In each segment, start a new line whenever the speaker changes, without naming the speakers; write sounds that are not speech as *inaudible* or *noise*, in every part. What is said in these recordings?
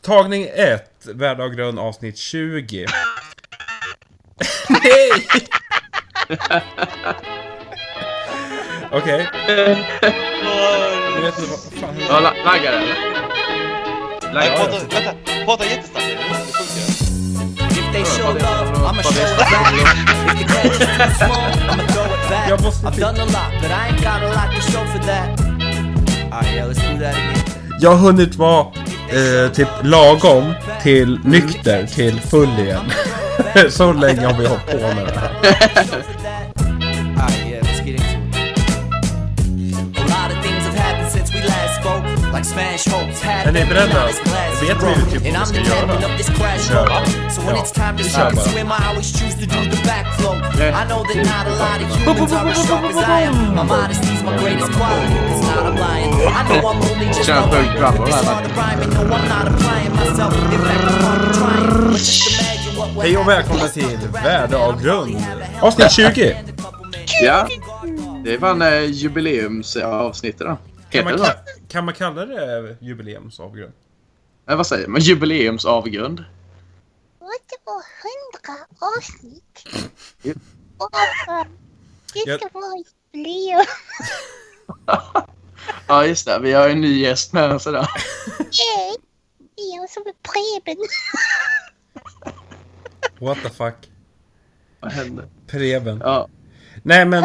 Tagning 1, Värld av grön avsnitt 20. Nej! Okej, nu vet ni vad fan...
Ja, la- laggar det, eller?
Nej,
Laggar
prata,
det?
vänta, prata jättestarkt nu. Det funkar.
If they show love, I'ma show it back. If the catch is too small, I'ma throw it back.
Jag måste
I've
till-
done a lot, but I ain't got a lot to show for that. Alright, yeah, let's do that again.
Jag har hunnit vara eh, typ lagom till nykter till full igen. *laughs* Så länge har vi hållit på med
*laughs*
det här.
Alright, Ah, yeah, let's get into it. A lot of things have happened since we last spoke. Like smash hopes,
Är
happened.
ni beredda? Vet ni
broke.
typ
And
vad
I'm
vi
the
ska göra?
captain of this crash
Kör.
boat. So when
Ja.
it's time to
Vi kör
shout and
bara.
swim, I always choose to do the backflow. I know that not a lot of humans are as sharp as I am. My modesty's my greatest quality. It's not I'm lying. I know I'm only just
Kör en
a
sjuk drabble
It's
där, va?
hard to rhyme and no, I'm not applying myself. In fact, I'm hardly trying. But just imagine what would
Hej och
happen.
välkomna till Värde av grund. Avsnitt 20.
Ja, det är fan eh, jubileumsavsnittet då.
Kan
Heter
man,
det så?
ka- kan man kalla det jubileumsavgrund?
Nej, vad säger man? Jubileumsavgrund?
Lite på hundra avsnitt.
Ja.
Och det ska
Jag-
vara jubileum.
Ja, just det. Vi har ju en ny gäst med oss idag.
Yay! Det är jag som är Preben.
What the fuck?
Vad händer?
Preben.
Ja.
Nej men...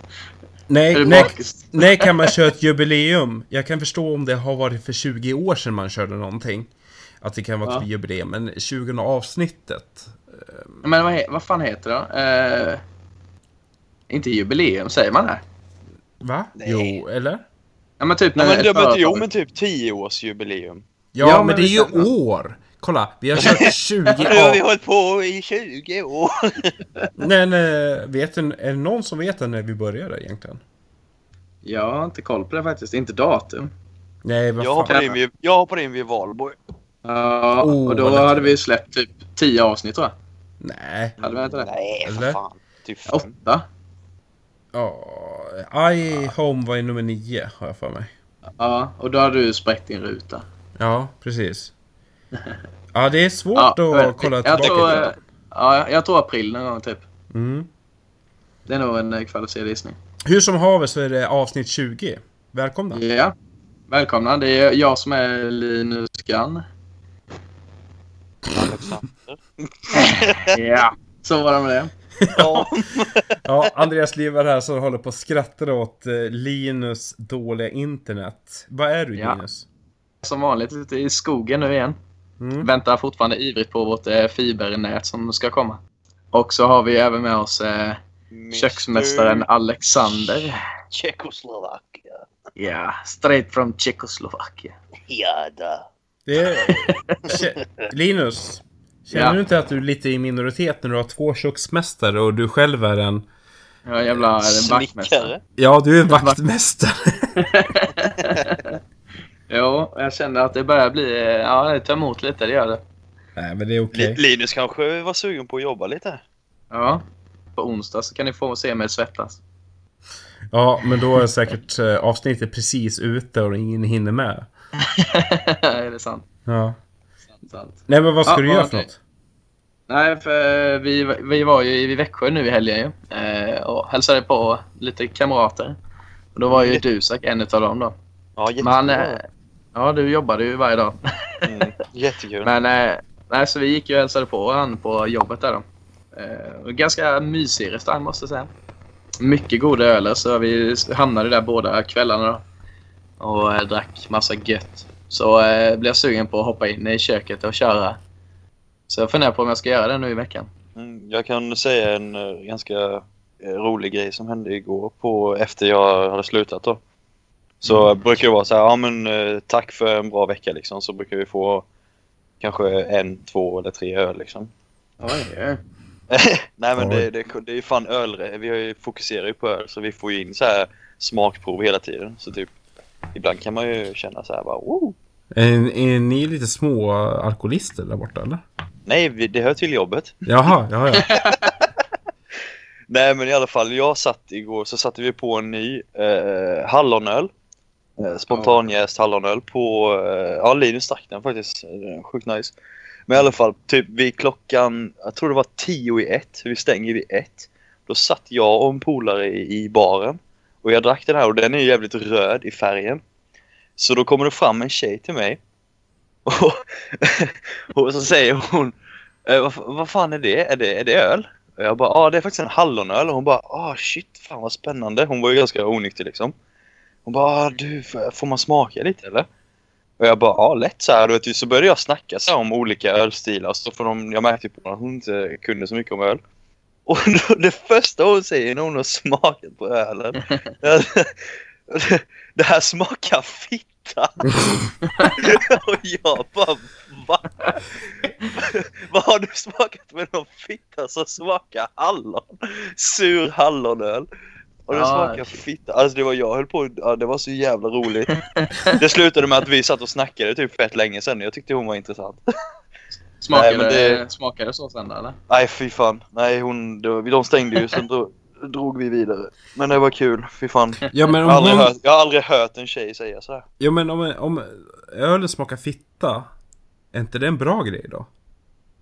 Är
nej,
det
nej,
bakis?
nej kan man köra ett jubileum. Jag kan förstå om det har varit för 20 år sedan man körde någonting. Att det kan vara ett
Ja.
jubileum. Men 20 avsnittet.
Men vad, he- vad fan heter det eh, Inte jubileum, säger man det?
Va?
Nej.
Jo, eller?
Ja, men typ
Nej, men,
ett
det- men,
företag-
jo, men typ 10-årsjubileum.
Ja,
Ja,
men,
men
det är ju
visst är det.
år! Kolla, vi har kört 20
Nu har vi
av...
hållit på i 20 år.
Nej, nej, vet en, är det någon som vet när vi började egentligen?
Jag har inte koll på det faktiskt. Inte datum.
Nej, vad
Jag
fan.
hoppade in vid, jag hoppade in vid Valborg.
Ja,
Oh,
och då
vad lätt.
hade vi släppt typ 10 avsnitt tror jag.
Nej.
Hade vi inte det?
Nej,
Eller?
för fan. Typ fem.
Åtta?
Ja, I Home var ju nummer 9, har jag för mig.
Ja, och då hade du spräckt din ruta.
Ja, precis. Ja, det är svårt
Ja, jag
att
vet.
kolla
jag
tillbaka.
tror,
på.
eh, ja, jag tror april någon gång typ.
Mm.
Det är nog en eh, kvalificerad gissning.
Hur som haver så är det avsnitt 20. Välkomna.
Ja. Välkomna, det är jag som är Linus Gunn.
Alexander.
Ja. Så var det med det.
Ja.
Ja, Andreas Liv är här som håller på och skrattar åt eh, Linus dåliga internet. Vad är du,
Ja.
Linus?
Som vanligt ute i skogen nu igen.
Mm.
Väntar fortfarande ivrigt på vårt eh, fibernät som ska komma. Och så har vi även med oss eh, köksmästaren Alexander.
Tjeckoslovakia.
Ja, straight from Tjeckoslovakien.
Ja, da.
Det är... Kä- Linus, känner
Ja.
du inte att du är lite i minoritet när du har två köksmästare och du själv är en...
Ja, jävla eh, vaktmästare.
Snickare.
Ja, du
*laughs*
är vaktmästare.
Jo, jag känner att det börjar bli... eh, Ja, det tar emot lite, det gör det.
Nej, men det är okej.
Li- Linus kanske var sugen på att jobba lite.
Ja. På onsdag så kan ni få se mig svettas. *laughs*
Ja, men då är säkert eh, avsnittet precis ute och ingen hinner med.
är det sant?
Ja.
sant.
Nej, men vad ska
Ja,
du
ja,
göra för
okej.
något?
Nej, för vi, vi var ju i Växjö nu i helgen ju. Eh, och hälsade på lite kamrater. Och då var ju Dusak en utav dem då.
Ja,
Men han, eh,
jättekul.
Ja, du jobbade ju varje dag.
Mm, jättekul.
Men eh, nej, så vi gick ju och hälsade på han på jobbet där då. Eh, och ganska mysig restaurang måste jag säga. Mycket goda öler så vi hamnade där båda kvällarna då. Och eh, drack massa gött. Så eh, blev jag sugen på att hoppa in i köket och köra. Så jag funderar på om jag ska göra det nu i veckan.
Mm, jag kan säga en eh, ganska eh, rolig grej som hände igår på, efter jag hade slutat då. Så brukar det vara så här, ja men eh, tack för en bra vecka liksom. Så brukar vi få kanske en, två eller tre öl liksom.
Oj,
Nej men
Oj.
det, det, det är ju fan öl, eh. vi har ju, fokuserar ju på öl så vi får ju in så här smakprov hela tiden. Så typ ibland kan man ju känna så här bara "Oh, wow.
Är, är ni lite små alkoholister där borta, eller?
Nej vi, det hör till jobbet.
Jaha, ja, ja.
Nej men i alla fall, jag satt igår så satte vi på en ny eh, hallonöl. Eh, spontanjäst hallonöl på, eh, ja Linus drack den faktiskt. Eh, Sjukt nice. Men i alla fall, typ vid klockan, jag tror det var tio i ett, vi stänger vid ett. Då satt jag och en polare i, i baren. Och jag drack den här och den är ju jävligt röd i färgen. Så då kommer det fram en tjej till mig. *laughs* Och, och så säger hon eh, vad, fa- vad fan är det? Är det, är det öl? Och jag bara, ja ah, det är faktiskt en hallonöl. Och hon bara, ah shit, fan vad spännande. Hon var ju ganska onykter liksom. Hon bara, ah, du, f- får man smaka lite eller? Och jag bara, ja ah, lätt så här. Du vet, så började jag snacka så här, om olika ölstilar. Så för de, jag märkte på henne att hon inte kunde så mycket om öl. Och *laughs* då, det första hon säger när hon har smakat på ölen. det är att, Det här smakar fitta! och jag bara va? Vad har du smakat med någon fitta som smakar hallon? Sur hallonöl. Och det
Ja,
smakar fitta. Alltså det var jag höll på, ja, det var så jävla roligt. Det slutade med att vi satt och snackade typ fett länge sen. Jag tyckte hon var intressant.
Smakade,
Nej, men det-
smakade så sen då, eller?
Nej fy fan. Nej hon, det var- de stängde ju sen drog, drog vi vidare. Men det var kul, fy fan.
Ja men
*laughs*
Jag
om,
har aldrig
någon,
hört, jag har aldrig hört en tjej säga så här.
ja, men om, om ölen smakar fitta, är inte det en bra grej då?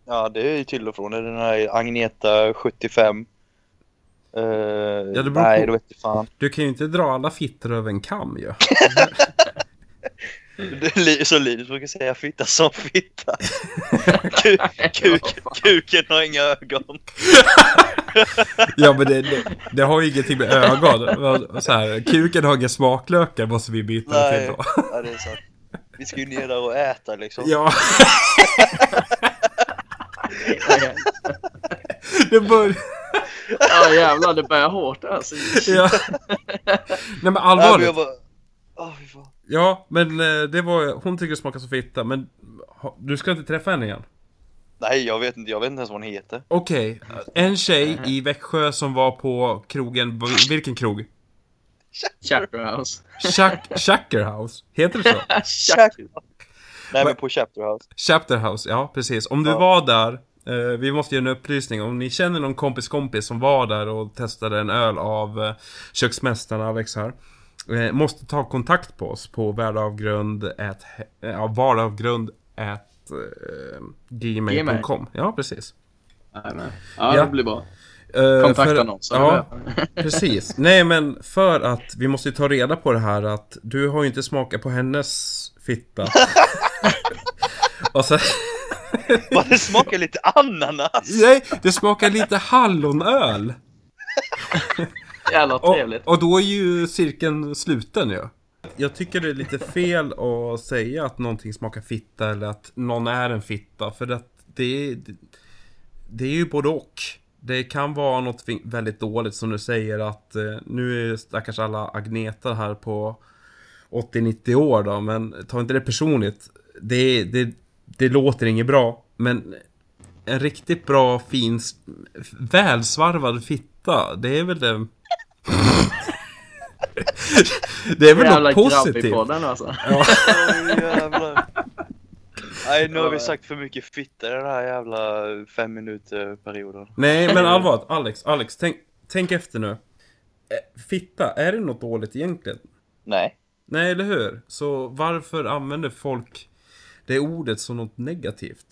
Ja, det är ju till och från. Det är Den här Agneta 75.
det
Eh,
beror
nej,
på.
det vete fan.
Du kan ju inte dra alla fittor över en kam ju.
Det är li- Så Linus brukar säga fitta som
*laughs*
fitta. Ku- *laughs* kuk, kuken har inga ögon.
Ja men det, det, det har ju ingenting med ögon. Så här, kuken har inga smaklökar måste vi byta det
Nej,
till då.
ja, det är sant. Vi ska ju ner där och äta liksom.
Ja. *laughs* Det bör...
Ja jävlar, det börjar hårt
*laughs*
alltså.
Ja. Nej men
Nej, men jag
allvarligt.
bara... Åh, fy fan.
Ja men eh, det var Hon tycker det smakar så fitta men ha- du ska inte träffa henne igen.
Nej, jag vet inte. Jag vet inte ens vad hon heter.
Okej. En tjej i Växjö som var på krogen. Vilken krog?
Chapter House.
Chuck, Chuckerhouse. Heter det så?
Chapter. typ. Nej, men på Chapterhouse.
Chapterhouse, ja precis. Om du
Ja.
var där, eh, vi måste ge en upplysning. Om ni känner någon kompis kompis som var där och testade en öl av eh, köksmästaren Alex här. Eh, måste ta kontakt på oss på eh, värdeavgrund.gmail.com. Ja, precis.
Nej, men. Ja,
Ja.
det blir bra.
Eh,
Kontakta
för-
någon. Så
Ja,
ja.
*laughs* precis. Nej men för att vi måste ju ta reda på det här att du har ju inte smakat på hennes *laughs* fitta. och sen...
Bara *laughs* det smakar lite ananas!
Nej, det smakar lite hallonöl.
Jävla
Och,
trevligt.
och då är ju cirkeln sluten ju. Jag tycker det är lite fel att säga att någonting smakar fitta eller att någon är en fitta. För att det är, det är ju både och. Det kan vara något vi- väldigt dåligt som du säger att eh, nu är stackars alla Agneta här på 80-90 år då, men ta inte det personligt. Det, det, det låter inget bra, men en riktigt bra, fin, s- välsvarvad fitta, det är väl det... *laughs* det är väl
Jävla
något positivt.
grabbig-podden alltså.
Åh, jävlar. Nej, nu har vi sagt för mycket fitta i den här jävla fem minuter perioden.
Nej, men allvarligt, Alex, Alex, tänk, tänk efter nu. Eh, Fitta, är det något dåligt egentligen?
Nej.
Nej, eller hur? Så varför använder folk det ordet som något negativt?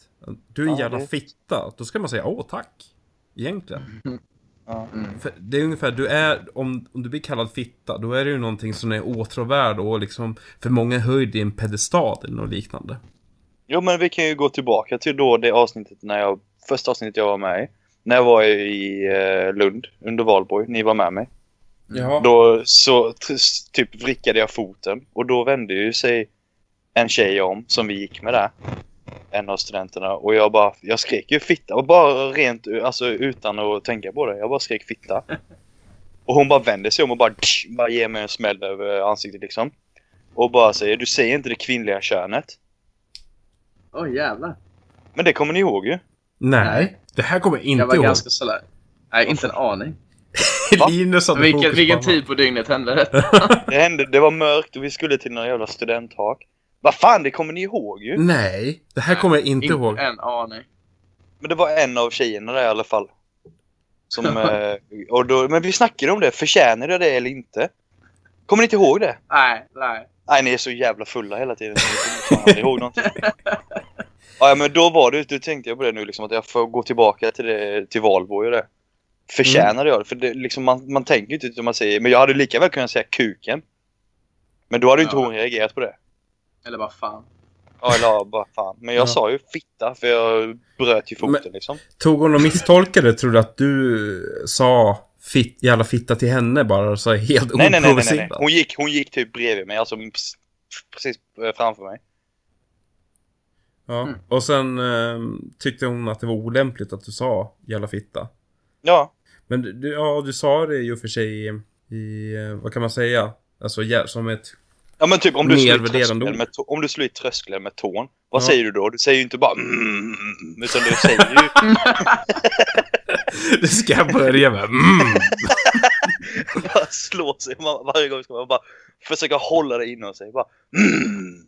Du är en
Ja,
jävla
det-
fitta. Då ska man säga åh tack. Egentligen.
Ja.
För det är ungefär, du är, om, om du blir kallad fitta, då är det ju någonting som är åtråvärd och liksom för många höjd i en pedestal eller något liknande.
Jo, men vi kan ju gå tillbaka till då det avsnittet när jag... Första avsnittet jag var med i. När jag var i eh, Lund under valborg. Ni var med mig.
Jaha.
Då så t- s- typ vrickade jag foten och då vände ju sig en tjej om som vi gick med där. En av studenterna och jag bara, jag skrek ju fitta och bara rent u- alltså utan att tänka på det. Jag bara skrek fitta. Och hon bara vände sig om och bara, tsch, bara ger mig en smäll över ansiktet liksom. Och bara säger, du säger inte det kvinnliga könet.
Oj jävlar.
Men det kommer ni ihåg ju.
Nej, det här kommer jag inte
Jag var
ihåg.
ganska sådär. Nej, inte en aning.
*laughs* Linus hade fokus
Vilken,
på
vilken
annat.
tid på dygnet hände detta?
Det hände, det var mörkt och vi skulle till någon jävla studenthak. Vad fan, det kommer ni ihåg ju.
Nej, det här kommer jag inte ihåg.
en aning.
Men det var en av tjejerna där i alla fall.
*laughs*
Som, eh, och då, men vi snackade om det. Förtjänar jag det eller inte? Kommer ni inte ihåg det?
Nej, nej.
Nej, ni är så jävla fulla hela tiden. så ni kommer fan aldrig ihåg någonting. Ja, men då var det, då tänkte jag på det nu liksom, att jag får gå tillbaka till, det, till Valbo och det. Förtjänade jag det? För det, liksom, man, man tänker ju inte utan man säger, men jag hade lika väl kunnat säga kuken. Men då hade ju inte
Ja.
hon reagerat på det.
Eller vad fan.
Ja, eller ja, bara fan. Men jag
Ja.
sa ju fitta för jag bröt ju foten
Men-
liksom.
Tog hon och misstolkade? Tror du att du eh, sa fit, jävla fitta till henne bara? Så helt
Nej, nej, nej, nej, nej.
oprovocerat?
Hon gick, hon gick typ bredvid mig, alltså precis- precis eh, framför mig.
Ja.
Mm.
Och sen ehm, tyckte hon att det var olämpligt att du sa jävla fitta.
Ja,
Men du- du, ja, du sa det ju för sig i, i eh, vad kan man säga? Alltså jä- som ett...
Ja men typ om du slår i
Nedvärderande
tröskeln
ord.
med, tå- om du slår i tröskeln med tån, vad
Ja.
säger du då? Du säger ju inte bara mm, utan du säger
*laughs*
ju...
*laughs*
*laughs*
Det ska jag börja med. Mm.
bara slår sig. Man, varje gång ska man bara försöka hålla det inom sig. Bara, mm.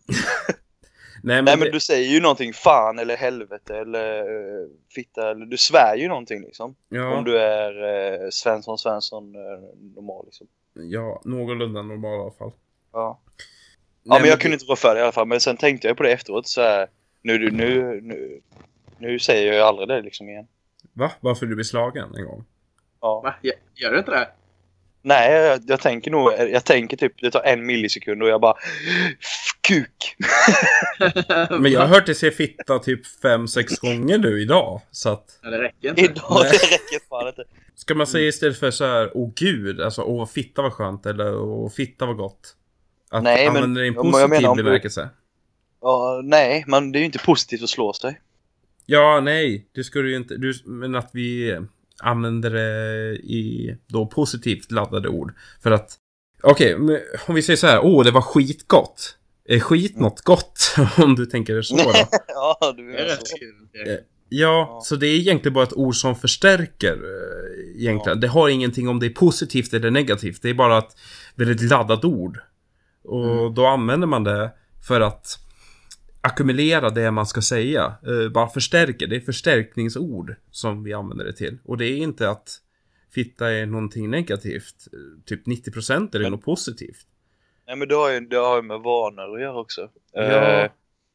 Nej, men,
Nej men
det,
du säger ju någonting fan eller helvete eller eh, fitta eller du svär ju någonting liksom.
ja,
Om du är eh, Svensson Svensson eh, normal liksom.
ja, någorlunda normal i alla fall.
Ja. Ja
Nej,
men jag
det-
kunde inte rå för det i alla fall. Men sen tänkte jag på det efteråt så här, nu, nu, nu, nu, nu säger jag ju aldrig det liksom igen.
Va? Varför du blev slagen en gång?
Ja.
Va? Gör- Gör du inte det?
Nej, jag, jag tänker nog, jag tänker typ, det tar en millisekund och jag bara *laughs* Kuk!
*laughs* Men jag har hört dig säga fitta typ fem sex gånger nu idag. Så att,
Ja, det räcker inte.
Idag, det räcker fan inte.
ska man
Mm.
säga istället för så här, åh gud, alltså åh vad fitta var skönt eller åh fitta var gott. Att
Nej, men-
använda det i en
ja, men jag
positiv
menar om du-
bemärkelse.
Ja, nej, men det är ju inte positivt att slå sig.
Ja, nej, det skulle ju inte, du, men att vi använder det i då positivt laddade ord. För att, okej, men om vi säger så här, åh det var skitgott. Är skit
Mm.
något gott? *laughs* Om du tänker det så då?
ja, du
Det är
är
rätt
så.
kul.
Ja, så det är egentligen bara ett ord som förstärker eh, egentligen. Det har ingenting om det är positivt eller negativt. Det är bara ett väldigt laddat ord. Och då använder man det för att ackumulera det man ska säga. Eh, bara förstärker. Det är förstärkningsord som vi använder det till. Och det är inte att fitta är någonting negativt. Eh, Typ 90% är det
Men-
något positivt.
Nej, men det har ju, det har ju med vanor att göra också.
Ja.
Eh,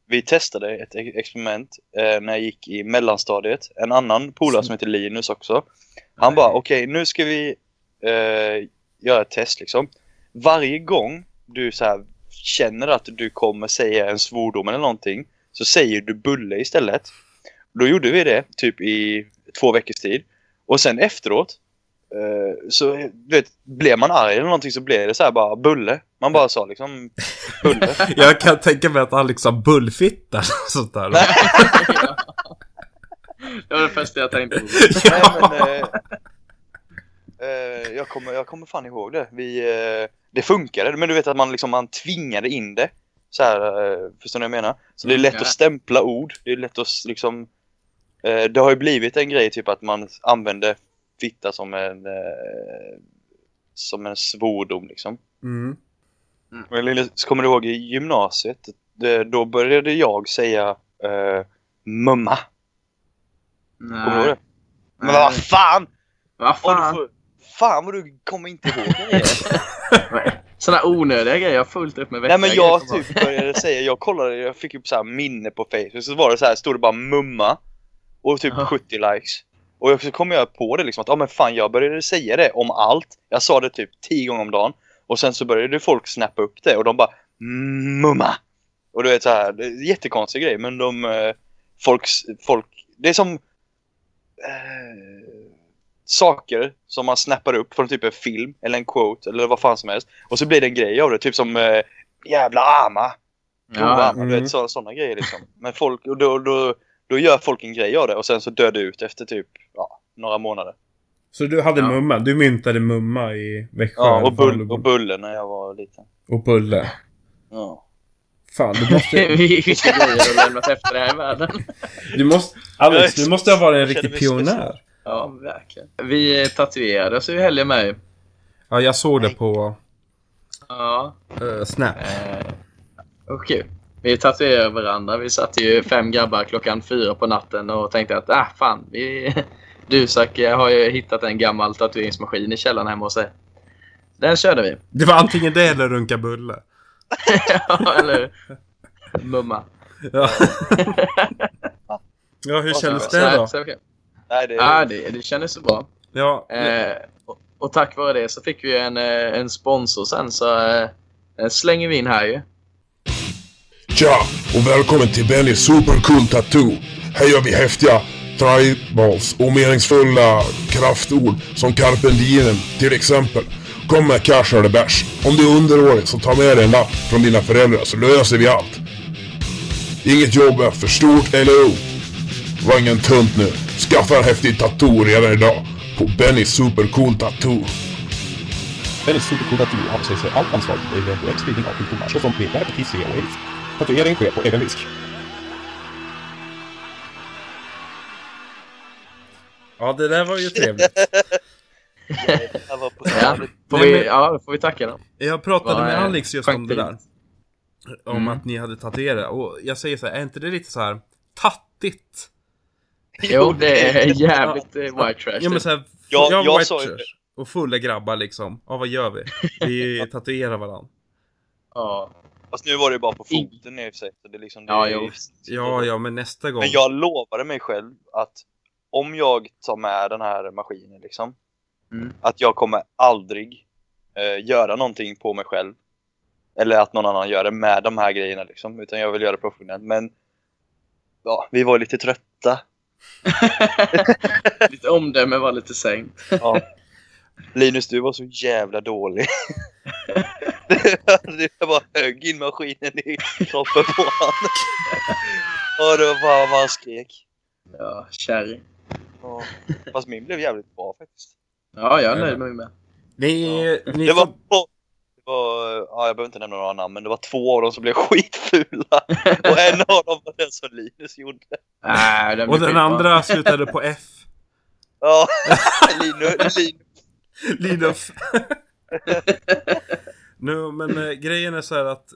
vi testade ett ex- experiment eh, när jag gick i mellanstadiet. En annan polare som heter Linus också. Han bara, okej, nu ska vi eh, göra ett test liksom. Varje gång du så här, känner att du kommer säga en svordom eller någonting så säger du bulle istället. Då gjorde vi det typ i två veckors tid. Och sen efteråt eh, så du vet, blev man arg eller någonting så blev det så här bara bulle. Man bara sa liksom bulle.
Jag kan tänka mig att Alex sa bullfitta och sånt *laughs* där.
Nej.
*laughs* Det var det första jag tänkte på.
Nej, men, eh, eh, jag, kommer, jag kommer fan ihåg det. Vi, eh, det funkade, men du vet att man, liksom, man tvingade in det. Så här, eh, förstår ni vad jag menar? Så det är lätt
Ja.
att stämpla ord. Det är lätt att s- liksom... Eh, det har ju blivit en grej typ att man använder fitta som en... Eh, som en svordom liksom.
Mm.
Men Linus, kommer du ihåg i gymnasiet? Det, då började jag säga eh, mumma. Kommer du
Nej.
ihåg det? Men vad fan!
Vad
Och du
fan?
får, fan vad du kommer inte ihåg grejer.
*laughs* Sådana onödiga grejer. Jag har fullt upp med vettiga
Nej men
*laughs* grejer.
jag typ började säga, jag kollade, jag fick upp så här minne på Facebook, så var det så här, stod det bara mumma. Och typ
Ja.
70 likes. Och så kom jag på det liksom att, ja ah, men fan jag började säga det om allt. Jag sa det typ 10 gånger om dagen. Och sen så började folk snappa upp det och de bara "Mm, mumma. Och du vet så här, det är en jättekonstig grej men de, eh, folk, folk, det är som eh, saker som man snappar upp från typ en film eller en quote eller vad fan som helst. Och så blir det en grej av det, typ som eh, jävla ama.
Ja,
Mm. Du vet, så, såna grejer liksom. Men folk, och då, då, då gör folk en grej av det och sen så dör det ut efter typ ja, några månader.
Så du hade
Ja.
mumma, du myntade mumma i Växjö?
Ja, och,
eller
bull,
Falun.
och bulle när jag var liten.
och bulle.
Ja.
Fan, du måste...
vilka grejer du har lämnat efter dig här i världen.
Du måste Alex, du måste ha varit en riktig pionjär.
Ja, verkligen. Vi eh, tatuerade oss i helgen med ju.
Ja, jag såg det på
Ja.
eh, Snap.
Eh, Okej. Vi tatuerade varandra. Vi *laughs* satt ju fem grabbar klockan fyra på natten och tänkte att ah, fan, vi, Dusak eh, har ju hittat en gammal tatueringsmaskin i källaren hemma hos sig. Den körde vi. *laughs*
Det var antingen det eller runka bulle.
Ja, Eller hur? Mumma.
Ja. *laughs* ja, hur kändes det då?
Så, okay.
Nej, det
Ja, det, det kändes så bra.
Ja,
Eh, och, och tack vare det så fick vi en, eh, en sponsor sen så eh, eh, slänger vi in här ju.
Tja och välkommen till Bennys Supercool Tattoo. Här gör vi häftiga tribals och meningsfulla kraftord som carpe diem till exempel. Kom med cash eller bärs. Om du är underårig så ta med dig en lapp från dina föräldrar så löser vi allt. Inget jobb är för stort eller ungt. Var ingen tunt nu. Skaffa en häftig tattoo redan idag på Bennys Supercool Tattoo.
Väldigt supercoolt att du avsäger sig allt ansvar för eventuell spridning av sjukdomar såsom blindhet, hiv och aids. Tatuering sker på egen risk.
ja, det där var ju trevligt.
det var på
Ja, får,
Nej,
vi,
men-
ja, då får vi tacka dem.
Jag pratade
Vad
med
är
Alex just om det där.
skönt
Om
Mm.
att ni hade tatuerat. Och jag säger så här, är inte det lite så här tattigt?
Jo, det
*laughs*
är jävligt eh, white trash.
Ja, men så här,
Jag-
jag,
jag
jag
sa ju det.
och fulla grabbar liksom. Ja, vad gör vi?
*laughs*
Vi tatuerar varandra.
ja.
Fast nu var det ju bara på foten i och för sig. Så det är liksom, det
Ja,
är-
jo.
Ja, ja, men nästa gång.
Men jag lovade mig själv att om jag tar med den här maskinen liksom.
Mm.
Att jag kommer aldrig eh, göra någonting på mig själv. Eller att någon annan gör det med de här grejerna liksom. Utan jag vill göra det professionellt. Men ja, vi var lite trötta.
Ditt omdöme var lite sänkt.
Ja. Linus, du var så jävla dålig. *laughs* det jag bara högg in maskinen i kroppen på honom. Och det var bara vad han skrek.
Ja, kärring.
Ja. Fast min blev jävligt bra faktiskt.
Ja, jag är nöjd med mig med.
Ni, ni
Det var,
får-
det var, ja, jag behöver inte nämna några namn, men det var två av dem som blev *laughs* skitfula. Och en av dem var den som Linus gjorde.
Nej, den
Och
blir
den
skitbra.
andra slutade på F.
Ja, *laughs* Linus, Linus.
Linus. *laughs* nu, men eh, grejen är så här att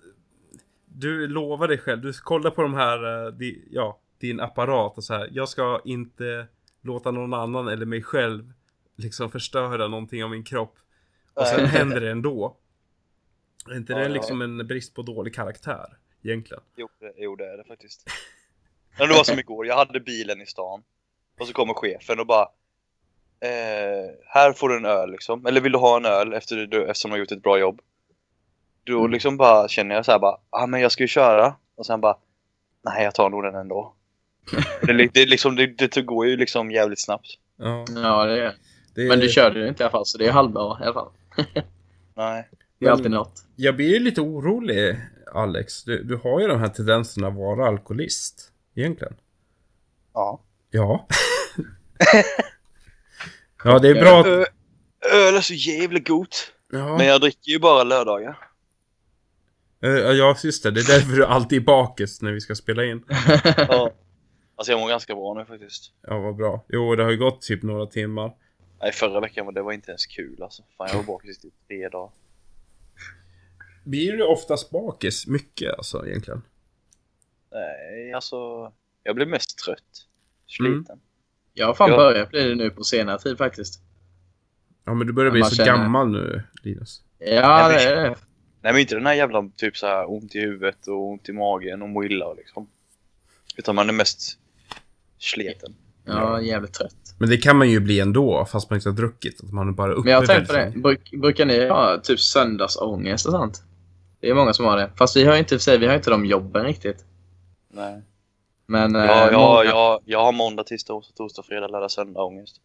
du lovar dig själv. Du kollar på de här, eh, di, ja, din apparat och så här. Jag ska inte låta någon annan eller mig själv liksom förstöra någonting av min kropp. Och sen
Nej.
händer det ändå. Är inte
Ja,
det
ja.
liksom en brist på dålig karaktär? Egentligen.
Jo, det, jo, det är det faktiskt. Men det var som igår, jag hade bilen i stan. Och så kommer chefen och bara eh, Här får du en öl liksom. Eller vill du ha en öl efter du, eftersom du har gjort ett bra jobb? Då liksom bara känner jag så här bara, ah, men jag ska ju köra. Och sen bara, nej jag tar nog den ändå. det, li- det, är liksom, det, det går ju liksom jävligt snabbt.
Ja,
Ja, det är
det,
Men du körde ju inte i alla fall, så det är halvbra i alla fall.
Nej.
Det är
Men-
alltid något.
Jag blir ju lite orolig, Alex. Du, du har ju de här tendenserna att vara alkoholist. Egentligen.
Ja.
Ja. ja, det är bra att...
Ö- Öl är så jävla gott. Men
Ja,
jag dricker ju bara lördagar.
Eh, ja just det. Det är därför du alltid är bakis när vi ska spela in.
Ja. Alltså jag mår ganska bra nu faktiskt.
Ja, vad bra. Jo, det har ju gått typ några timmar.
Nej, förra veckan var det var inte ens kul alltså. Fan, jag var bakis i typ tre dagar.
Blir du oftast bakis? Mycket alltså, egentligen.
Nej, alltså. Jag blev mest trött. Sliten.
Mm. Jag har fan
Ja.
börjat bli det nu på senare tid faktiskt.
Ja, men du börjar
Ja,
bli
man
så
känner-
gammal nu, Linus.
Ja,
men-
det är det.
Nej, men inte den här jävla typ så här ont i huvudet och ont i magen och må illa liksom. Utan man är mest sliten.
Ja, jävligt trött.
Men det kan man ju bli ändå, fast man inte har druckit. Att man är bara uppe
Men jag har tänkt på det.
väldigt länge.
Bruk, brukar ni ha typ söndagsångest och sånt? Det är många som har det. Fast vi har ju inte, i och för sig, vi har ju inte de jobben riktigt.
Nej.
Men...
Ja,
eh,
ja,
många-
ja, jag har måndag, tisdag, onsdag, torsdag, fredag, lördag, söndag ångest.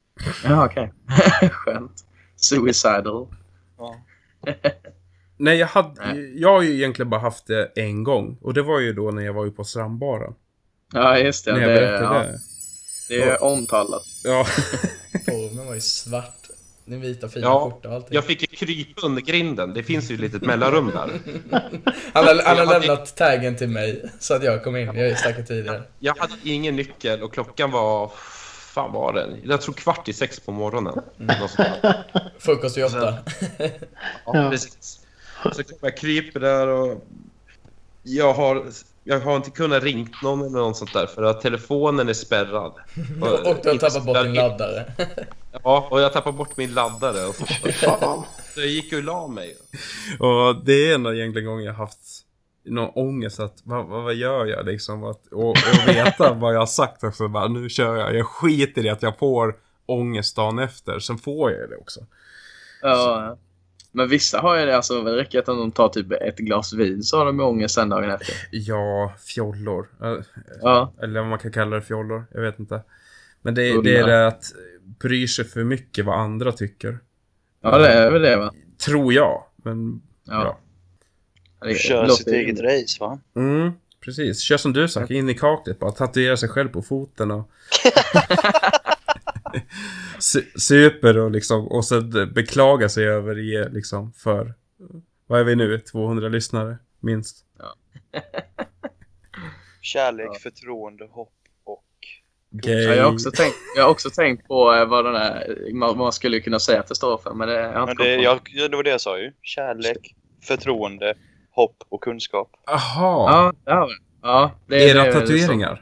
Ja, okej. *laughs* Skönt. Suicidal.
Ja.
Nej, jag, hade,
Nej.
jag har ju egentligen bara haft det en gång. Och det var ju då när jag var ju på strandbaren.
Ja, just det.
när jag
det,
berättade
ja,
det.
det är omtalat.
Ja.
Formen var ju svart. Den vita fina
Ja,
skjortan och allting.
Jag fick ju krypa under grinden. Det finns ju ett litet mellanrum där.
Han har, han har
jag hade-
lämnat taggen till mig så att jag kom in. Jag stack ju tidigare.
Jag hade ingen nyckel och klockan var... fan var den? Jag tror kvart i sex på morgonen.
Mm.
Något sånt där.
Frukost vid åtta.
Ja, precis. Så kom jag kryper där och jag har, jag har inte kunnat ringt någon eller något sånt där för att telefonen
*laughs*
är spärrad.
Och du har tappat bort din
Spärrad-
laddare.
Ja, och jag tappade bort min laddare. Och så, fan. så jag gick och la mig.
Och det är enda egentligen gången jag haft någon ångest att vad, vad, vad gör jag liksom? Att, och, och veta *laughs* vad jag har sagt också. Bara, nu kör jag. Jag skiter i att jag får ångest dagen efter. Sen får jag det också.
Ja. Men vissa har ju det, alltså det räcker att om de tar typ ett glas vin så har de ju ångest sen dagen efter.
Ja, fjollor. Eh,
Ja,
Eller vad man kan kalla det, fjollor. Jag vet inte. Men det, det är
Unnar.
det att bry sig för mycket vad andra tycker.
ja det är väl det va?
Tror jag. Men
Ja. Det
Kör
låter
sitt
ju-
eget race va?
Mm, precis. Kör som du sa, in i kaklet bara. Tatuera sig själv på foten
*laughs*
och... Su- Super och liksom, och sen beklaga sig över er liksom för, vad är vi nu, 200 lyssnare minst.
Kärlek,
Ja.
förtroende, hopp och...
Gay.
Ja, jag, har också tänkt, jag har också tänkt på eh, vad den där, vad man skulle kunna säga att det står för, men det jag har inte
Men
kommit
det,
på.
jag, ja, det var det jag sa ju. Kärlek, förtroende, hopp och kunskap.
Aha,
Ja, det har vi. Ja, det är- det
era
är väl
tatueringar.
så.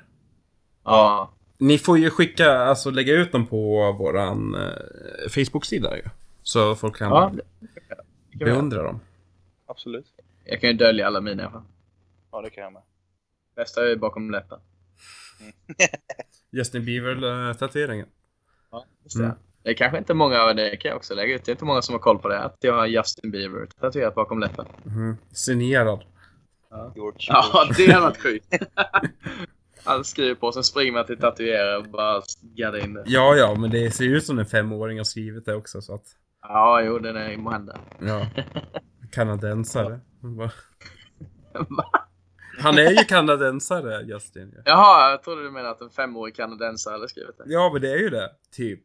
Ja.
Ni får ju skicka, alltså lägga ut dem på våran eh, Facebook-sida ju. Så folk kan
ja det kan vi göra.
beundra dem.
Absolut.
jag kan ju dölja alla mina i alla fall.
Ja, det kan jag med.
Bästa är ju bakom läppen.
Justin eh, Bieber-tatueringen.
Just det.
Mm.
Det är kanske inte många, det kan jag också lägga ut. Det är inte många som har koll på det, att jag har Justin Bieber tatuerat bakom läppen.
Mm. Signerad.
George.
*laughs* Ja, det hade varit sjukt. *laughs* Han skriver på, sen springer man till tatuerare och bara gaddar in det.
Ja, ja, men det ser ju ut som en femåring har skrivit det också så att...
Ja, jo, den är i måhända.
Ja. *laughs* Kanadensare. Va?
Va?
Han är ju kanadensare, Justin. ju.
*laughs* Jaha, jag trodde du menade att en femårig kanadensare hade skrivit det.
Ja, men det är ju det. Typ.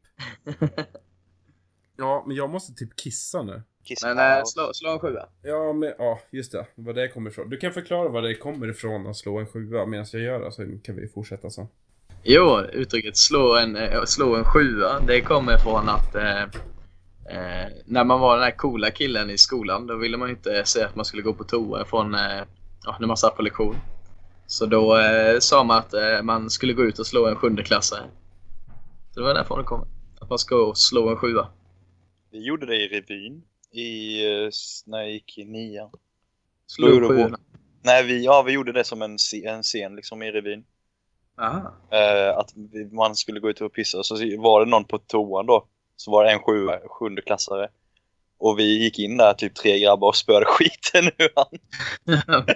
Ja, men jag måste typ kissa nu.
Kiss
Men
my
eh,
ass.
slå, slå en sjua.
Ja, men ja, just det. Vad det kommer ifrån. Du kan förklara vad det kommer ifrån att slå en sjua medan jag gör det, så kan vi fortsätta sen.
Jo, uttrycket slå en, eh, slå en sjua, det kommer från att eh, eh, när man var den här coola killen i skolan, då ville man ju inte säga att man skulle gå på toa från eh, ja, när man satt på lektion. Så då eh, sa man att eh, man skulle gå ut och slå en sjundeklassare. Så det var därifrån det kom. Att man ska gå och slå en sjua.
Vi gjorde det i revyn. I, eh, s- när jag gick i nian.
Slå
Då gjorde
en
vi-
sjua.
Nej, vi, ja, vi gjorde det som en, sce- en scen liksom i revyn.
Aha. *laughs*
Eh, att vi- man skulle gå ut och pissa. Och Så var det någon på toan då. Så var det en sju, sjundeklassare. Och vi gick in där, typ tre grabbar, och spöade skiten ur han.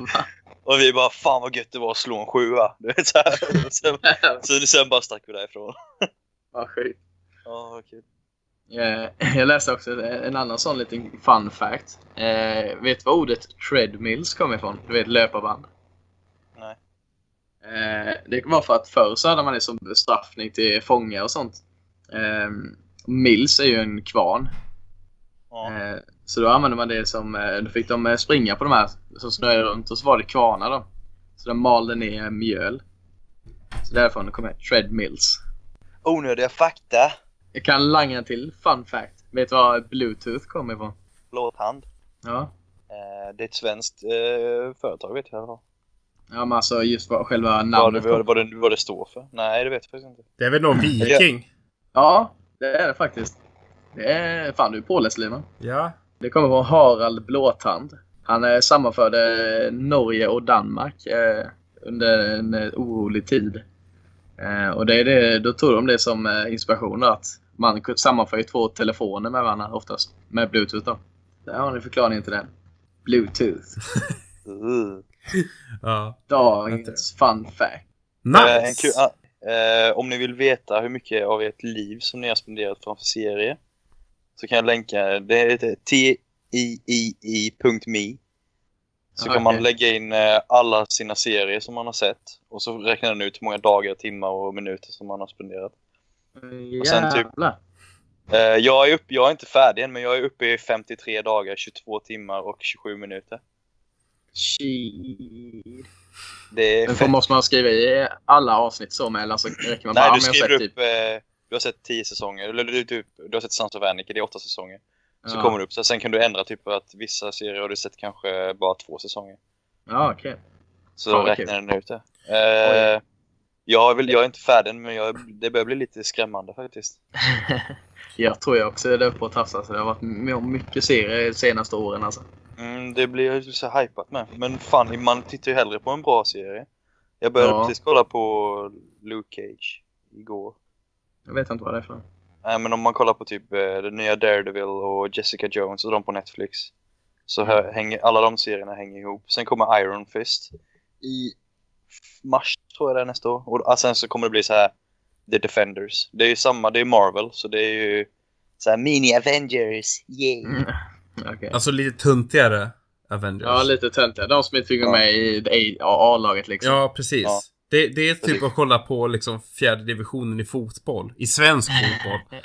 Va?
Och vi bara fan vad gött det var att slå en sjua. *laughs* Du vet, så här. Och sen, sen, sen bara stack vi därifrån.
Vad sjukt.
Ja, vad kul.
Eh, *laughs* Jag läste också en annan sån liten fun fact. Eh, vet du vad ordet treadmills kom ifrån? Du vet löparband?
Nej.
Eh, det var för att förr så hade man det som bestraffning till fångar och sånt. Eh, mills är ju en kvarn.
Ja.
Eh, så då använde man det som, eh, då fick de eh, springa på de här som snöade runt och så var det kvarnar då. Så de malde ner mjöl. Så därifrån kom det treadmills.
Onödiga fakta.
Jag kan langa en till fun fact. Vet du var bluetooth kom ifrån?
Blåtand.
Ja.
Eh, det är ett svenskt eh, företag vet jag. Vad
Ja, men alltså just vad själva
vad det,
namnet.
vad, det- vad, det, vad det står för. Nej, det vet jag faktiskt inte.
Det är väl *laughs* någon viking?
Ja, det är det faktiskt. Det är... Fan, du är påläst, Liman.
Ja.
Det kommer från Harald Blåtand. Han eh, sammanförde Norge och Danmark eh, under en eh, orolig tid. Eh, och det är det, då tog de det som eh, inspiration då, att man kunde- sammanför ju två telefoner med varandra oftast. Med bluetooth då. Där har ni förklaringen till det. Bluetooth.
Uh.
ja.
Dagens fun fact.
Eh, en
Nice!
kul, ah, eh, om ni vill veta hur mycket av ert liv som ni har spenderat framför serie så kan jag länka, det heter tiii.me så
Ah,
kan man
okej.
lägga in eh, alla sina serier som man har sett och så räknar den ut hur många dagar, timmar och minuter som man har spenderat. Och sen typ-
Jävlar.
Eh, jag, är upp, jag är inte färdig än men jag är uppe i 53 dagar, 22 timmar och 27 minuter.
Shit.
Det är
Men får,
fett.
måste man skriva i alla avsnitt så med? Eller alltså, räcker man bara,
Nej,
"Ja,
du
men jag
skriver
har
upp,
sett typ-
eh, du har sett 10 säsonger, eller du, du, du har sett Sons of Anarchy, det är 8 säsonger. Så
ja.
kommer det upp. Så sen kan du ändra typ att vissa serier har du sett kanske bara två säsonger.
*laughs*
Ja, okej.
Så
Fan, vad kul.
räknar den ut det. Eh, jag, vill, jag är inte färdig men jag, det börjar bli lite skrämmande faktiskt.
Jag tror jag också är där uppe och tafsar. Så det har varit m- mycket serier de senaste åren alltså.
Mm, det blir jag ju så hypat med. Men fan, man tittar ju hellre på en bra serie. Jag började
Ja.
precis kolla på Luke Cage igår.
Jag vet inte vad det är för något.
Nej, men om man kollar på typ eh, den nya Daredevil och Jessica Jones och de på Netflix. Så här
Mm.
hänger, alla de serierna hänger ihop. Sen kommer Iron Fist i f- mars tror jag det är nästa år. Och ah, sen så kommer det bli så här The Defenders. Det är ju samma, det är Marvel så det är ju så här mini Avengers. Yay.
Mm. *laughs* Okej.
Alltså lite tuntigare Avengers.
Ja, lite töntiga. De som inte fick vara
Ja.
med i det A- A-laget liksom.
Ja, precis.
Ja.
Det, det är typ
Precis.
att kolla på liksom fjärde divisionen i fotboll. I svensk fotboll.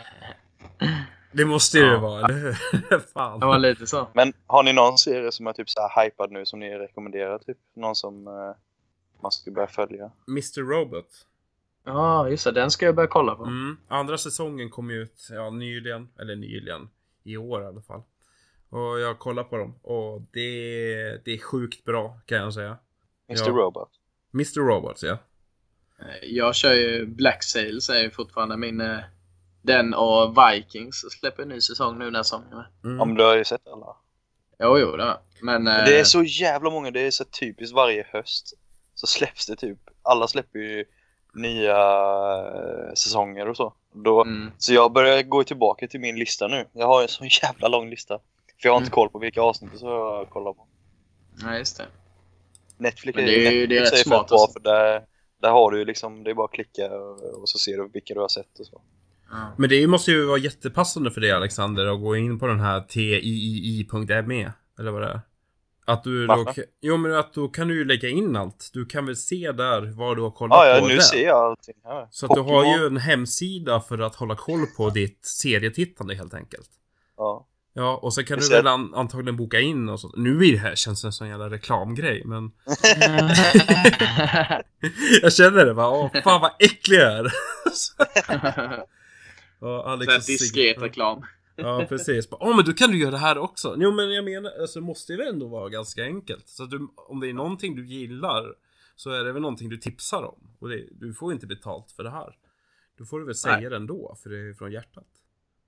Det måste ju
Ja.
det vara, eller hur? *laughs* Fan.
Det var lite så.
Men har ni någon serie som är typ så här hypad nu som ni rekommenderar typ? Någon som eh, man ska börja följa?
Mr Robot.
Ja, just det. Den ska jag börja kolla på.
Mm. Andra säsongen kom ju ut ja, nyligen, eller nyligen, i år i alla fall. Och jag kollar på dem och det, det är sjukt bra kan jag säga.
Mr.
Ja.
Robot.
Mr Robots ja.
Eh, Jag kör ju Black Sails är ju fortfarande min... eh, Den och Vikings släpper en ny säsong nu nästa sommaren.
Mm.
Ja men du har ju sett alla.
Jo, jo, det har jag. Men... eh,
Det är så jävla många, det är så typiskt varje höst. Så släpps det typ, alla släpper ju nya eh, säsonger och så. Då,
Mm.
Så jag börjar gå tillbaka till min lista nu. Jag har en sån *laughs* jävla lång lista. För jag har inte
Mm.
koll på vilka avsnitt så jag kollar på.
Ja, just det.
Netflix
Men det är ju- det är
Netflix
rätt
ju fett
smart
bra
alltså.
för där, där har du ju liksom, det är bara att klicka och, och så ser du vilka du har sett och så.
Ja.
Men det måste ju vara jättepassande för dig Alexander att gå in på den här TIII.me E, eller vad det är. Att du då,
Varför?
jo men att då kan du ju lägga in allt. Du kan väl se där vad du har kollat
Ja, ja
på
nu
där.
ser jag allting här.
Så att du har
Pokémon.
ju en hemsida för att hålla koll på ditt serietittande helt enkelt.
Ja.
Ja, och så kan du
Precis.
väl an antagligen boka in och sånt. Nu är det här känns det som en sån jävla reklamgrej, men... *laughs*
*laughs*
jag känner det bara, åh fan vad äcklig jag är! och Alex
Så här
och Sigge-
diskret reklam.
Ja, precis. Bara, Åh, men då kan du göra det här också! Jo, men jag menar, alltså det måste ju ändå vara ganska enkelt. Så att du, om det är någonting du gillar, så är det väl någonting du tipsar om. Och det, du får inte betalt för det här. Då får du väl säga det ändå, för det är från hjärtat.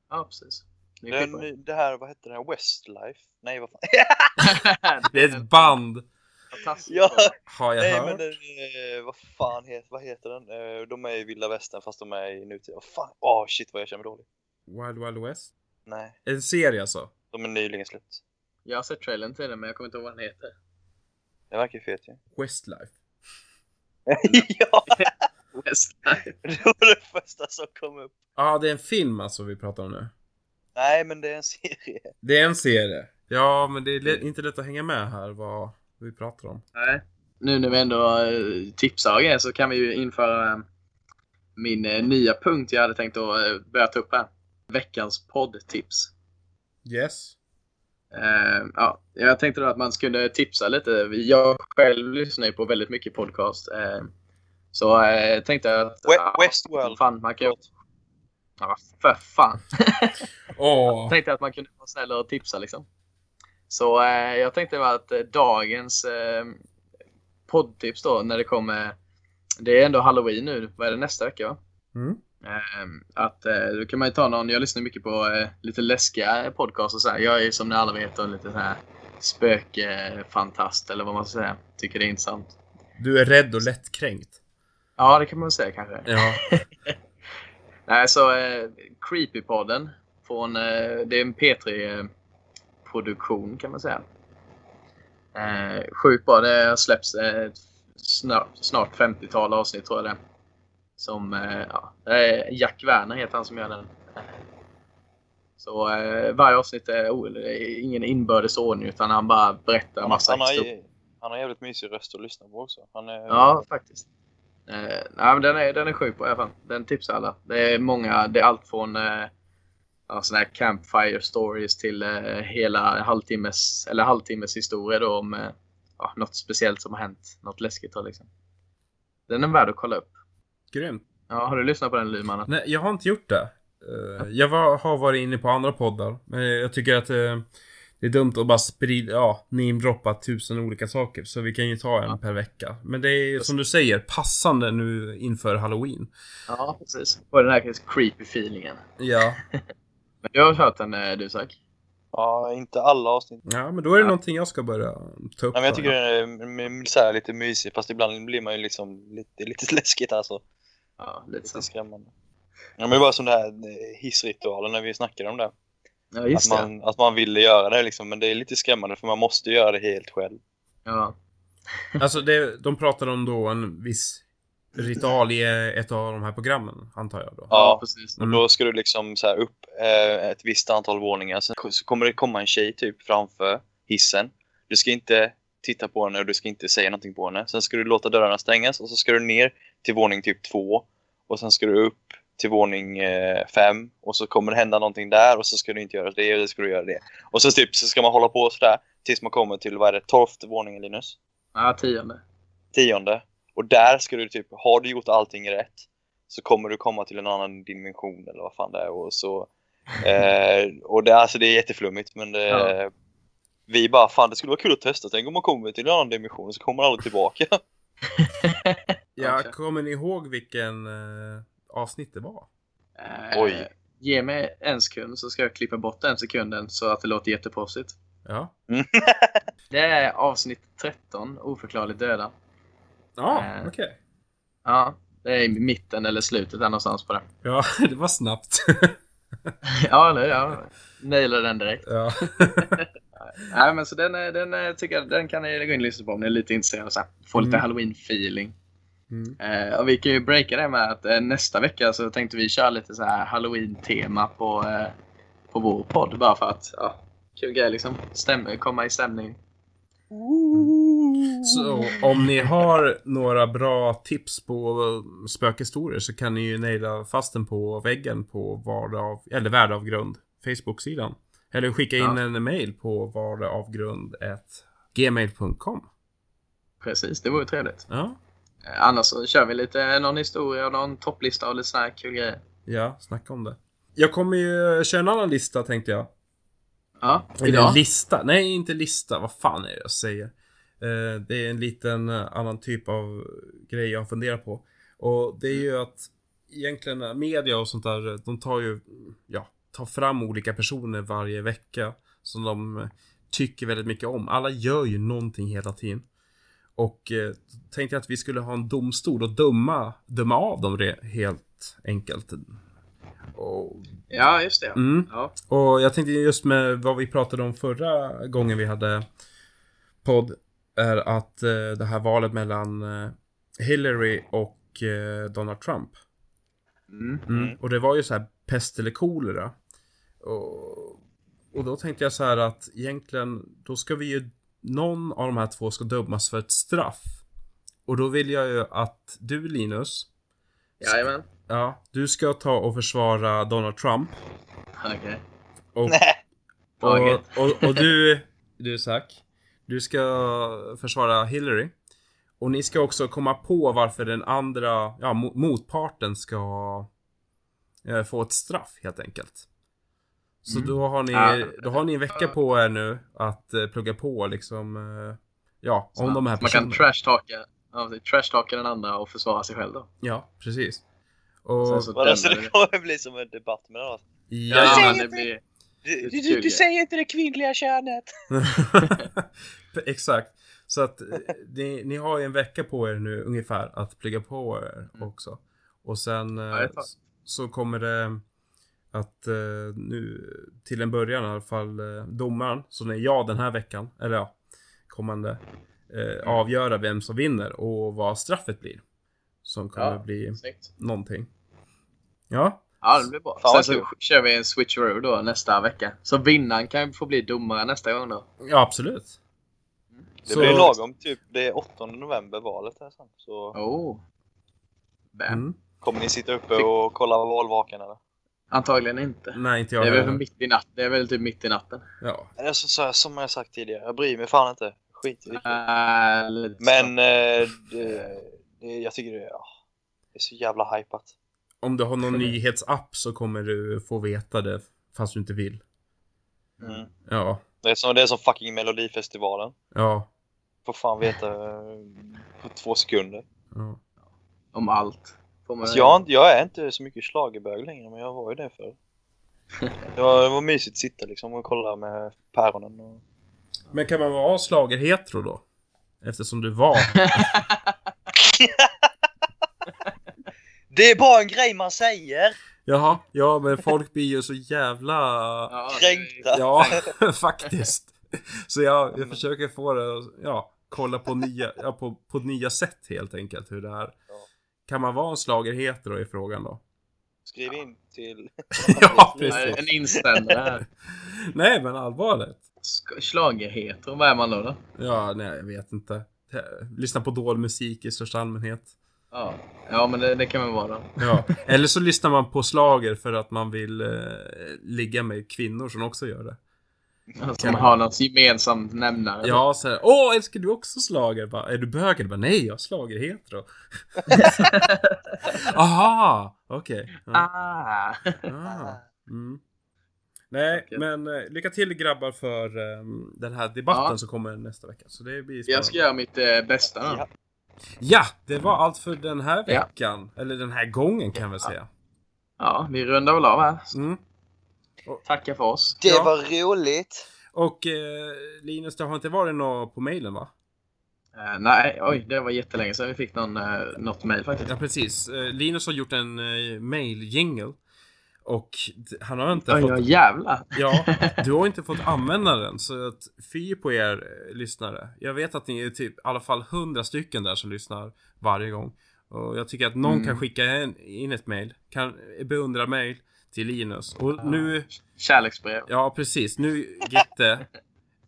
Ja, precis. Det är skitbra.
Den, det här, vad hette den här? Westlife? Nej, vad fan?
*laughs*
Det är ett band!
Fantastiskt.
Ja,
Har jag
nej
hört.
men den, eh, vad fan heter, vad heter den? Eh, de är i vilda västern fast de är i nutid. Vad fan, åh shit vad jag känner mig dålig.
Wild Wild West?
Nej,
En serie alltså?
de är nyligen släppt.
Jag har sett trailern till den, men jag kommer inte ihåg vad den heter.
Det verkar ju
*laughs*
fet ju.
Westlife?
*laughs* ja,
Westlife.
det var det första som kom upp.
Ja, ah, det är en film alltså vi pratar om nu.
Nej men det är en serie.
Det är en serie. Ja, men det är le- inte lätt att hänga med här vad vi pratar om.
Nej. Nu när vi ändå eh, tipsar och grejer så kan vi ju införa eh, min eh, nya punkt jag hade tänkt att eh, börja ta upp här. Veckans poddtips.
Yes.
Eh, ja, jag tänkte då att man skulle tipsa lite. Jag själv lyssnar ju på väldigt mycket podcast. eh, så eh, tänkte jag att...
We- Westworld.
Fan, man kan ju... Ja, för fan.
Åh!
tänkte att man kunde vara snäll och tipsa liksom. Så eh, jag tänkte väl att eh, dagens eh, poddtips då när det kommer. Det är ändå halloween nu. Vad är det nästa vecka va?
Mm.
Ehm, att eh, då kan man ju ta någon. Jag lyssnar mycket på eh, lite läskiga podcasts och så här. Jag är ju som ni alla vet då, lite så här spökfantast eller vad man ska säga. Tycker det är intressant.
Du är rädd och lättkränkt.
Ja, det kan man väl säga kanske.
Ja.
Nej, så eh, Creepypodden. Från, eh, det är en P3-produktion kan man säga. Eh, sjukt bra. Det har släppts eh, ett snart, snart 50-tal avsnitt tror jag det är. Som, eh, ja, det är Jack Werner heter han som gör den. Så eh, varje avsnitt är o- det är ingen inbördes ordning utan han bara berättar
Han,
massa
han, har,
historier.
ju- han har jävligt mysig röst att lyssna på också. Han är,
Ja, faktiskt. Eh, nej, men den är, den är sjuk på i alla fall. Den tipsar alla. Det är många, det är allt från eh, ja, såna här campfire stories till eh, hela halvtimmes, eller halvtimmes historia då om eh, ja, något speciellt som har hänt. Något läskigt då liksom. Den är värd att kolla upp.
Grymt.
Ja, har du lyssnat på den Lyman?
Nej, jag har inte gjort det. Eh, jag var, har varit inne på andra poddar. Men jag tycker att eh, Det är dumt att bara sprida, ja, namedroppa tusen olika saker. Så vi kan ju ta en per vecka. Men det är som du säger, passande nu inför halloween.
Ja, precis. Och den här creepy feelingen.
Ja.
Men du har hört den eh, du Zack?
Ja, inte alla avsnitt.
Ja, men då är det någonting jag ska börja ta upp.
Nej, men jag tycker
här.
den är mm, så här lite mysig, fast ibland blir man ju liksom lite, lite *laughs* läskigt alltså.
Ja, lite så.
Lite skrämmande. Ja, men det var som den här eh, hissritualen när vi snackade om det.
Ja, just
att,
det.
man, att man ville göra det liksom, men det är lite skrämmande för man måste göra det helt själv.
Ja.
Alltså, det, de pratar om då en viss ritual i eh, ett av de här programmen, antar jag då.
ja, precis.
Och då ska du liksom så här upp eh, ett visst antal våningar, sen ko- så kommer det komma en tjej typ framför hissen. Du ska inte titta på henne och du ska inte säga någonting på henne. Sen ska du låta dörrarna stängas och så ska du ner till våning typ två. Och sen ska du upp till våning eh, fem och så kommer det hända någonting där och så ska du inte göra det och så ska du göra det. Och så typ så ska man hålla på sådär tills man kommer till, vad är det, tolfte våningen Linus?
Ja, tionde.
tionde. Och där ska du typ, har du gjort allting rätt så kommer du komma till en annan dimension eller vad fan det är. Och, så, eh, och det, alltså, det är jätteflummigt men det,
Ja.
vi bara fan det skulle vara kul att testa. Tänk om man kommer till en annan dimension så kommer man aldrig tillbaka.
Ja,
Okej.
kommer ni ihåg vilken eh, avsnitt det var?
Eh,
Oj.
Ge mig en sekund så ska jag klippa bort den sekunden så att det låter jätteproffsigt.
Ja.
Det är avsnitt 13, Oförklarligt döda.
Ja,
Eh.
okej.
Ja, det är i mitten eller slutet där någonstans på det.
Ja, *laughs* det var snabbt.
*laughs* Ja, eller ja. Nailade den direkt.
ja.
Nej, men så den, är- den är- tycker jag, den kan ni gå in och lyssna på om ni är lite intresserade. Så här, få lite
Mm.
halloween-feeling.
Mm.
Eh, och vi kan ju breaka det med att eh, nästa vecka så tänkte vi köra lite så här halloween-tema på, eh, på vår podd. Bara för att, ja, kul grej liksom. Stäm, komma i stämning.
Så om ni har några bra tips på eh, spökhistorier så kan ni ju naila fast den på väggen på vardag, eller värdeavgrund Facebook-sidan. Eller skicka in
Ja.
en mail på vardagavgrund@gmail.com.
Precis, det vore trevligt.
Ja,
Eh, annars så kör vi lite eh, någon historia och någon topplista och lite såna här kul grejer.
ja, snacka om det. Jag kommer ju köra en annan lista tänkte jag.
Ja,
Eller en
idag.
lista. Nej, inte lista. Vad fan är det jag säger? Eh, det är en liten eh, annan typ av grej jag funderar på. Och det är ju att egentligen eh, media och sånt där, eh, de tar ju, ja, tar fram olika personer varje vecka som de eh, tycker väldigt mycket om. Alla gör ju någonting hela tiden. Och eh, tänkte jag att vi skulle ha en domstol och döma, döma av dem re- helt enkelt. Och
Ja, just det.
Mm.
Ja.
och jag tänkte just med vad vi pratade om förra gången vi hade podd. Är att eh, det här valet mellan eh, Hillary och eh, Donald Trump.
Mm.
Mm. Och det var ju så här pest eller kolera. Och, och då tänkte jag så här att egentligen då ska vi ju någon av de här två ska dömas för ett straff. Och då vill jag ju att du Linus,
Jajamän.
ja, du ska ta och försvara Donald Trump.
Okej.
Och, och,
Taget.
och, och du, du Zack, du ska försvara Hillary. Och ni ska också komma på varför den andra, ja, mo- motparten ska eh, få ett straff helt enkelt. Så
Mm.
då, har ni,
Ja.
då har ni en vecka på er nu att eh, plugga på liksom, eh, ja, om de här
man
personerna.
kan trashtalka ja, precis. trashtalka den andra och försvara sig själv då.
Ja, precis. Och,
Sen så
Vadå,
dömer vi
så alltså, det
det.
kommer bli som en debatt med dem.
ja.
Ja,
säger
men det
inte-
blir...
Du,
du- du- du säger
inte det kvinnliga könet.
*laughs* Exakt. Så att eh, ni, ni har ju en vecka på er nu ungefär att plugga på er
Mm.
också. Och sen eh,
det är klart.
s- så kommer det att eh, nu till en början i alla fall eh, domaren, som är jag den här veckan, eller ja, kommande, eh, avgöra vem som vinner och vad straffet blir. Som kommer
Ja.
bli
Snyggt.
någonting. Ja,
Ja, det blir bra.
Fan,
Sen
vad
så
kul.
kör vi en switcheroo då nästa vecka. Så vinnaren kan ju få bli domare nästa gång då.
ja absolut.
Det blir lagom typ, det är 8 november valet här sen. Så
Oh. Bam.
Mm.
kommer ni sitta uppe och kolla valvakan eller?
Antagligen inte.
Nej, inte jag
Det är, väl
heller.
mitt i natt. det är väl typ mitt i natten.
Ja,
Eller Alltså, så, så, som jag sagt tidigare, jag bryr mig fan inte. Skit i vilket.
Äh, lite så.
Men eh, det, det, jag tycker det, ja, det är så jävla hypat.
om du har någon nyhetsapp så kommer du få veta det fast du inte vill.
Mm.
Ja.
Det är som, det är som fucking Melodifestivalen.
Ja.
Får fan veta eh, på två sekunder.
ja.
Om allt. Får man-
Alltså jag, har inte- jag är inte så mycket schlagerbög längre, men jag var ju det
*laughs*
förr. Det var, det var mysigt att sitta liksom och kolla med päronen och...
Men kan man vara slagerhetero då? Eftersom du
*laughs*
var.
Det är bara en grej man säger!
Jaha, ja men folk blir ju så
*laughs*
jävla...
Ja, det är-
Kränkta!
Ja, *laughs* faktiskt. Så jag, jag försöker få det att, ja, kolla på nya, ja, på, på nya sätt helt enkelt hur det är.
Ja.
Kan man vara en slagerhetero i frågan då?
Skriv in
*laughs*
till...
Ja,
Nej,
precis.
En inställare.
Nej, men allvarligt.
Schlagerheter, vad är man då? då?
Ja, nej, jag vet inte. Lyssna på dålig musik i största allmänhet.
Ja. ja, men det, det kan man vara då.
Ja. *laughs* Eller så lyssnar man på slager för att man vill eh, ligga med kvinnor som också gör det.
Som Alltså, har någon gemensam nämnare.
Ja, så här, Åh, älskar du också slager? Bara, är du bög? eller?" Bara, Nej, jag är slagerhetero. *laughs* Aha, okej. Ja.
Ah.
Ah. Mm. Nej,
Okej.
men eh, lycka till grabbar för ehm, den här debatten
Ja.
som kommer nästa vecka. Så det blir spännande.
Jag ska göra mitt eh, bästa då.
Ja.
Ja, det var allt för den här
Ja.
veckan. Eller den här gången kan jag väl säga.
Ja, vi rundar väl av här.
Mm.
Tackar för oss.
Det
Ja.
var roligt!
Och eh, Linus, det har inte varit något på mejlen va?
Eh, nej, oj, det var jättelänge sedan vi fick någon, eh, något mejl faktiskt.
Ja, precis. Eh, Linus har gjort en eh, mailjingle. Och d- han har inte
Oj,
fått...
ja, jävlar.
Ja, du har inte fått använda den. Så att fy på er eh, lyssnare. Jag vet att ni är typ i alla fall hundra stycken där som lyssnar varje gång. Och jag tycker att någon
Mm.
kan skicka en, in ett mejl. Kan beundra mejl till Linus. Och nu...
Kärleksbrev.
Ja, precis. Nu, Gitte.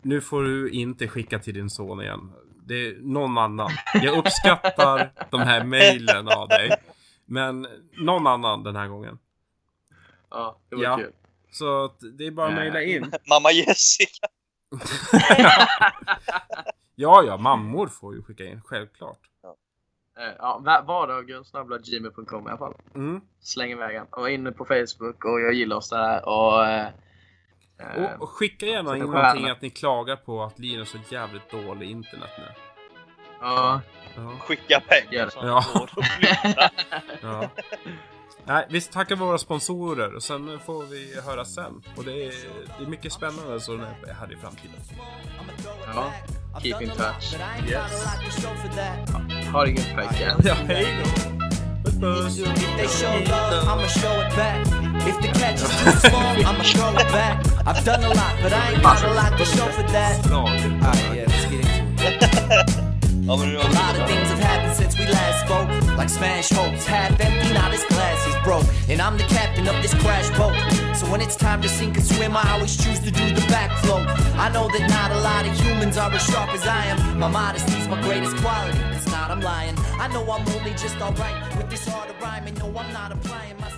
Nu får du inte skicka till din son igen. Det är någon annan. Jag uppskattar de här mejlen av dig. Men någon annan den här gången.
Ja, det var
Ja.
kul.
Så att det är bara att mejla
*laughs*
in.
Mamma Jessica!
Ja, ja, mammor får ju skicka in, självklart.
Eh, ja, va- vardagen snabbla gmail.com i alla fall.
Mm.
Släng iväg den. Och inne på Facebook och jag gillar oss där. Och, eh, eh,
Och, och skicka gärna
så
in
det
någonting
stjärna.
att ni klagar på att Linus har jävligt dålig internet nu.
eh, ja,
Ja.
Skicka pengar
Ja.
så han går och flyttar.
*laughs*
ja. Nej, vi tackar våra sponsorer och sen får vi höra sen. Och det är, det är mycket spännande som är här i framtiden.
Ja. Keep in touch.
Yes.
ha det gött pojkar.
Ja, hej då! Puss, puss!
If they show love, I'ma show it back. If the catch is too strong, I'ma throw it back. I've done a lot, but I ain't got a lot to show for that.
Slager.
Alright, yeah, let's get into it.
Ja, men nu har
A lot
*laughs*
of
vi-
things have happened since we last spoke. Like smash hopes, half empty, now this glass is broke. And I'm the captain of this crash boat. So when it's time to sink or swim, I always choose to do the backflow. I know that not a lot of humans are as sharp as I am. My modesty's my greatest quality. It's not I'm lying. I know I'm only just alright with this hard rhyme, and no, I'm not applying myself.